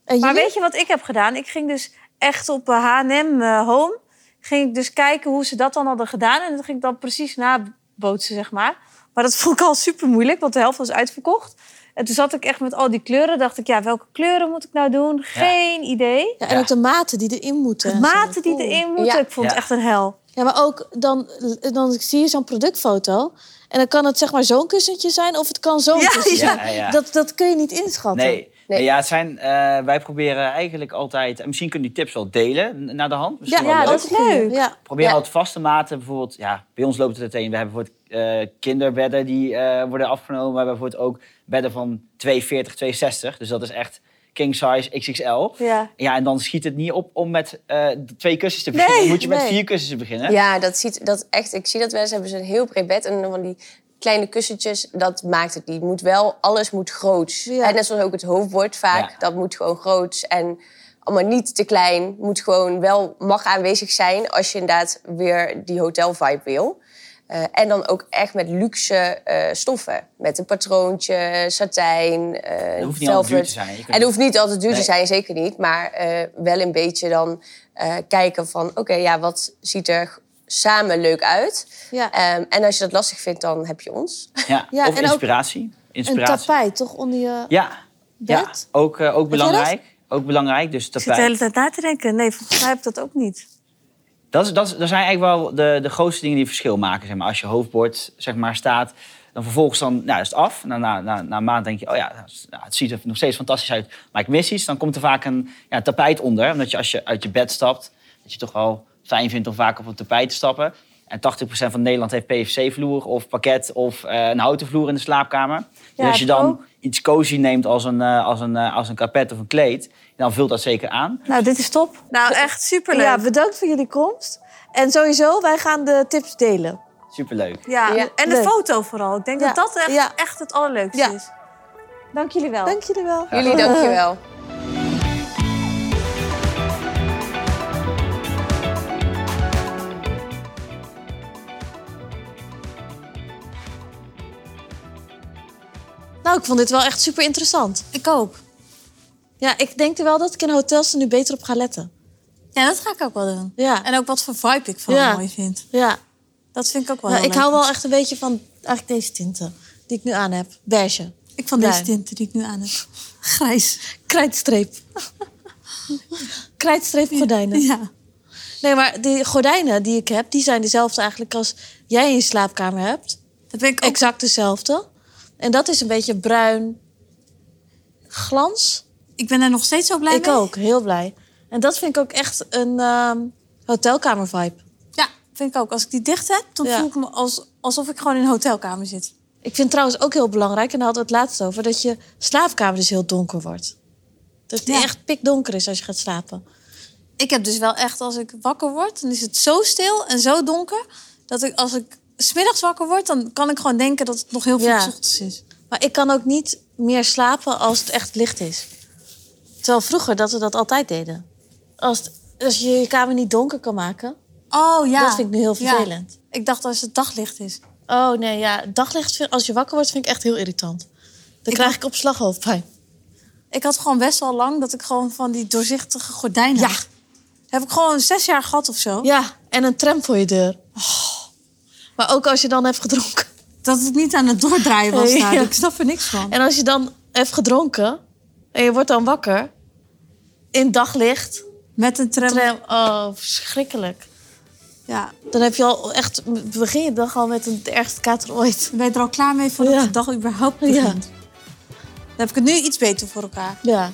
S2: En
S1: Maar
S2: jullie?
S1: weet je wat ik heb gedaan? Ik ging dus echt op eh, H&M eh, Home... ging ik dus kijken hoe ze dat dan hadden gedaan. En dat ging ik dan precies nabootsen, zeg maar. Maar dat vond ik al super moeilijk, want de helft was uitverkocht. En toen zat ik echt met al die kleuren. dacht ik, ja, welke kleuren moet ik nou doen? Geen idee.
S2: Ja, en
S3: Ja.
S2: ook de maten die erin moeten.
S1: De
S2: en zo.
S1: maten die
S2: Oeh.
S1: erin moeten.
S4: Ja.
S1: Ik vond het
S3: Ja.
S1: echt een hel.
S2: Ja, maar ook dan, dan zie je zo'n productfoto. En dan kan het zeg maar zo'n kussentje zijn of het kan zo'n
S1: Ja,
S2: kussentje
S3: ja.
S2: zijn.
S3: Ja, ja.
S2: Dat, dat kun je niet inschatten.
S3: Nee.
S4: Nee.
S3: Nee, ja, het zijn, eh, wij proberen eigenlijk altijd... en Misschien kunnen die tips wel delen n- naar de hand.
S2: Ja,
S3: Misschien wel
S2: ja,
S3: leuk.
S2: dat is leuk. Ja.
S3: Probeer
S4: Ja.
S3: altijd vaste maten. Bijvoorbeeld, ja, bij ons loopt het uiteen. We hebben bijvoorbeeld eh, kinderbedden die eh, worden afgenomen. We hebben bijvoorbeeld ook bedden van 2,40, 2,60. Dus dat is echt king size, XXL.
S1: Ja.
S3: Ja, en dan schiet het niet op om met eh, twee kussens te beginnen.
S1: Nee,
S3: dan moet je met
S1: nee.
S3: vier kussens beginnen.
S4: Ja, dat ziet dat echt. Ik zie dat wel eens. Hebben ze een heel breed bed en dan van die kleine kussentjes. Dat maakt het niet. Moet wel alles moet groots.
S1: Ja.
S4: En net zoals ook het hoofdbord vaak.
S3: Ja.
S4: Dat moet gewoon groots en allemaal niet te klein. Moet gewoon wel mag aanwezig zijn als je inderdaad weer die hotelvibe wil. Eh, en dan ook echt met luxe eh, stoffen. Met een patroontje, satijn, eh
S3: Het hoeft niet altijd duur
S4: velvet.
S3: te zijn. Je kunt-
S4: En het hoeft niet altijd duur te
S3: Nee.
S4: zijn, zeker niet. Maar eh, wel een beetje dan eh, kijken van... oké, ja, wat ziet er samen leuk uit?
S1: Ja.
S4: Ehm, en als je dat lastig vindt, dan heb je ons.
S3: Ja,
S1: Ja,
S3: of
S1: en ook
S3: inspiratie.
S1: Een
S3: inspiratie.
S1: tapijt, toch? Onder je...
S3: Ja, ja.
S1: Bed?
S3: Ook, eh, ook belangrijk. Ook belangrijk, dus
S2: Ik zit de
S3: tapijt.
S2: hele tijd na te denken. Nee, volgens mij heb ik dat ook niet.
S3: Dat, is, dat, is- dat zijn eigenlijk wel de, de grootste dingen die verschil maken. Zeg maar. Als je hoofdbord zeg maar, staat, dan vervolgens dan, nou, is het af. Na, na, na, na een maand denk je, oh ja, nou, het ziet er nog steeds fantastisch uit. Maar ik mis iets, dan komt er vaak een ja, tapijt onder. Omdat je als je uit je bed stapt, dat je toch wel fijn vindt om vaak op een tapijt te stappen. En 80% van Nederland heeft PVC-vloer of pakket of eh, een houten vloer in de slaapkamer.
S1: Ja,
S3: dus als je
S1: heb ik
S3: dan
S1: ook.
S3: iets cozy neemt als een, eh, als, een, eh, als een karpet of een kleed, dan vult dat zeker aan.
S1: Nou, dit is top.
S2: Nou, echt superleuk.
S1: Ja, bedankt voor jullie komst. En sowieso, wij gaan de tips delen.
S3: Superleuk.
S2: Ja,
S4: Ja.
S2: en de
S1: Leuk.
S2: foto vooral. Ik denk
S1: Ja.
S2: dat dat echt,
S1: Ja.
S2: echt het allerleukste
S1: Ja.
S2: is.
S1: Dank jullie wel. Dank jullie wel.
S4: Jullie, dankjewel.
S1: Nou, ik vond dit wel echt super interessant. Ik ook.
S2: Ja, ik denk er wel dat ik in hotels er nu beter op ga letten.
S1: Ja, dat ga ik ook wel doen.
S2: Ja.
S1: En ook wat voor vibe ik vooral
S2: Ja.
S1: mooi vind.
S2: Ja.
S1: Dat vind ik ook wel
S2: Ja,
S1: heel
S2: Nou, ik
S1: leuk. dus-
S2: hou wel echt een beetje van eigenlijk deze tinten die ik nu aan heb. Beige.
S1: Ik van deze
S2: Bruin.
S1: tinten die ik nu aan heb. Grijs.
S2: Krijtstreep. Krijtstreep gordijnen.
S1: Ja.
S2: Nee, maar die gordijnen die ik heb, die zijn dezelfde eigenlijk als jij in je slaapkamer hebt.
S1: Dat ben ik ook.
S2: Exact dezelfde. En dat is een beetje bruin glans.
S1: Ik ben daar nog steeds zo blij
S2: ik
S1: mee.
S2: ook, heel blij. En dat vind ik ook echt een ehm hotelkamer vibe.
S1: Ja, vind ik ook. Als ik die dicht heb, dan
S2: Ja.
S1: voel ik me als, alsof ik gewoon in een hotelkamer zit.
S2: Ik vind trouwens ook heel belangrijk, en daar hadden we het laatst over, dat je slaapkamer dus heel donker wordt. Dat die
S1: Ja.
S2: echt pikdonker is als je gaat slapen.
S1: Ik heb dus wel echt, als ik wakker word, dan is het zo stil en zo donker... dat ik als ik smiddags wakker word, dan kan ik gewoon denken dat het nog heel veel
S2: Ja.
S1: ochtends is.
S2: Maar ik kan ook niet meer slapen als het echt licht is. Terwijl vroeger dat we dat altijd deden. Als, het- als je je kamer niet donker kan maken.
S1: Oh ja.
S2: Dat vind ik nu heel
S1: Ja.
S2: vervelend.
S1: Ik dacht als het daglicht is.
S2: Oh nee, ja, daglicht, vind- als je wakker wordt, vind ik echt heel irritant. Dan
S1: Ik
S2: krijg ik op slag hoofdpijn.
S1: Ik had gewoon best wel lang dat ik gewoon van die doorzichtige gordijnen
S2: Ja.
S1: had. Heb ik gewoon zes jaar gehad of zo.
S2: Ja, en een tram voor je deur. Oh. Maar ook als je dan hebt gedronken.
S1: Dat het niet aan het doordraaien was
S2: Nee,
S1: daar.
S2: ja.
S1: Ik snap er niks van.
S2: En als je dan hebt gedronken en je wordt dan wakker in daglicht,
S1: Met een tram.
S2: tram, oh verschrikkelijk.
S1: Ja.
S2: Dan heb je al echt begin je dag al met een de ergste kater ooit.
S1: Ben je er al klaar mee voordat
S2: Ja.
S1: de dag überhaupt begint? Dan heb ik het nu iets beter voor elkaar.
S2: Ja.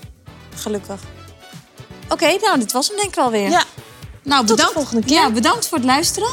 S1: Gelukkig. Oké, nou, dit was hem denk ik wel weer.
S2: Ja.
S1: nou,
S2: de
S1: bedankt.
S2: volgende keer.
S1: Ja, bedankt voor het luisteren.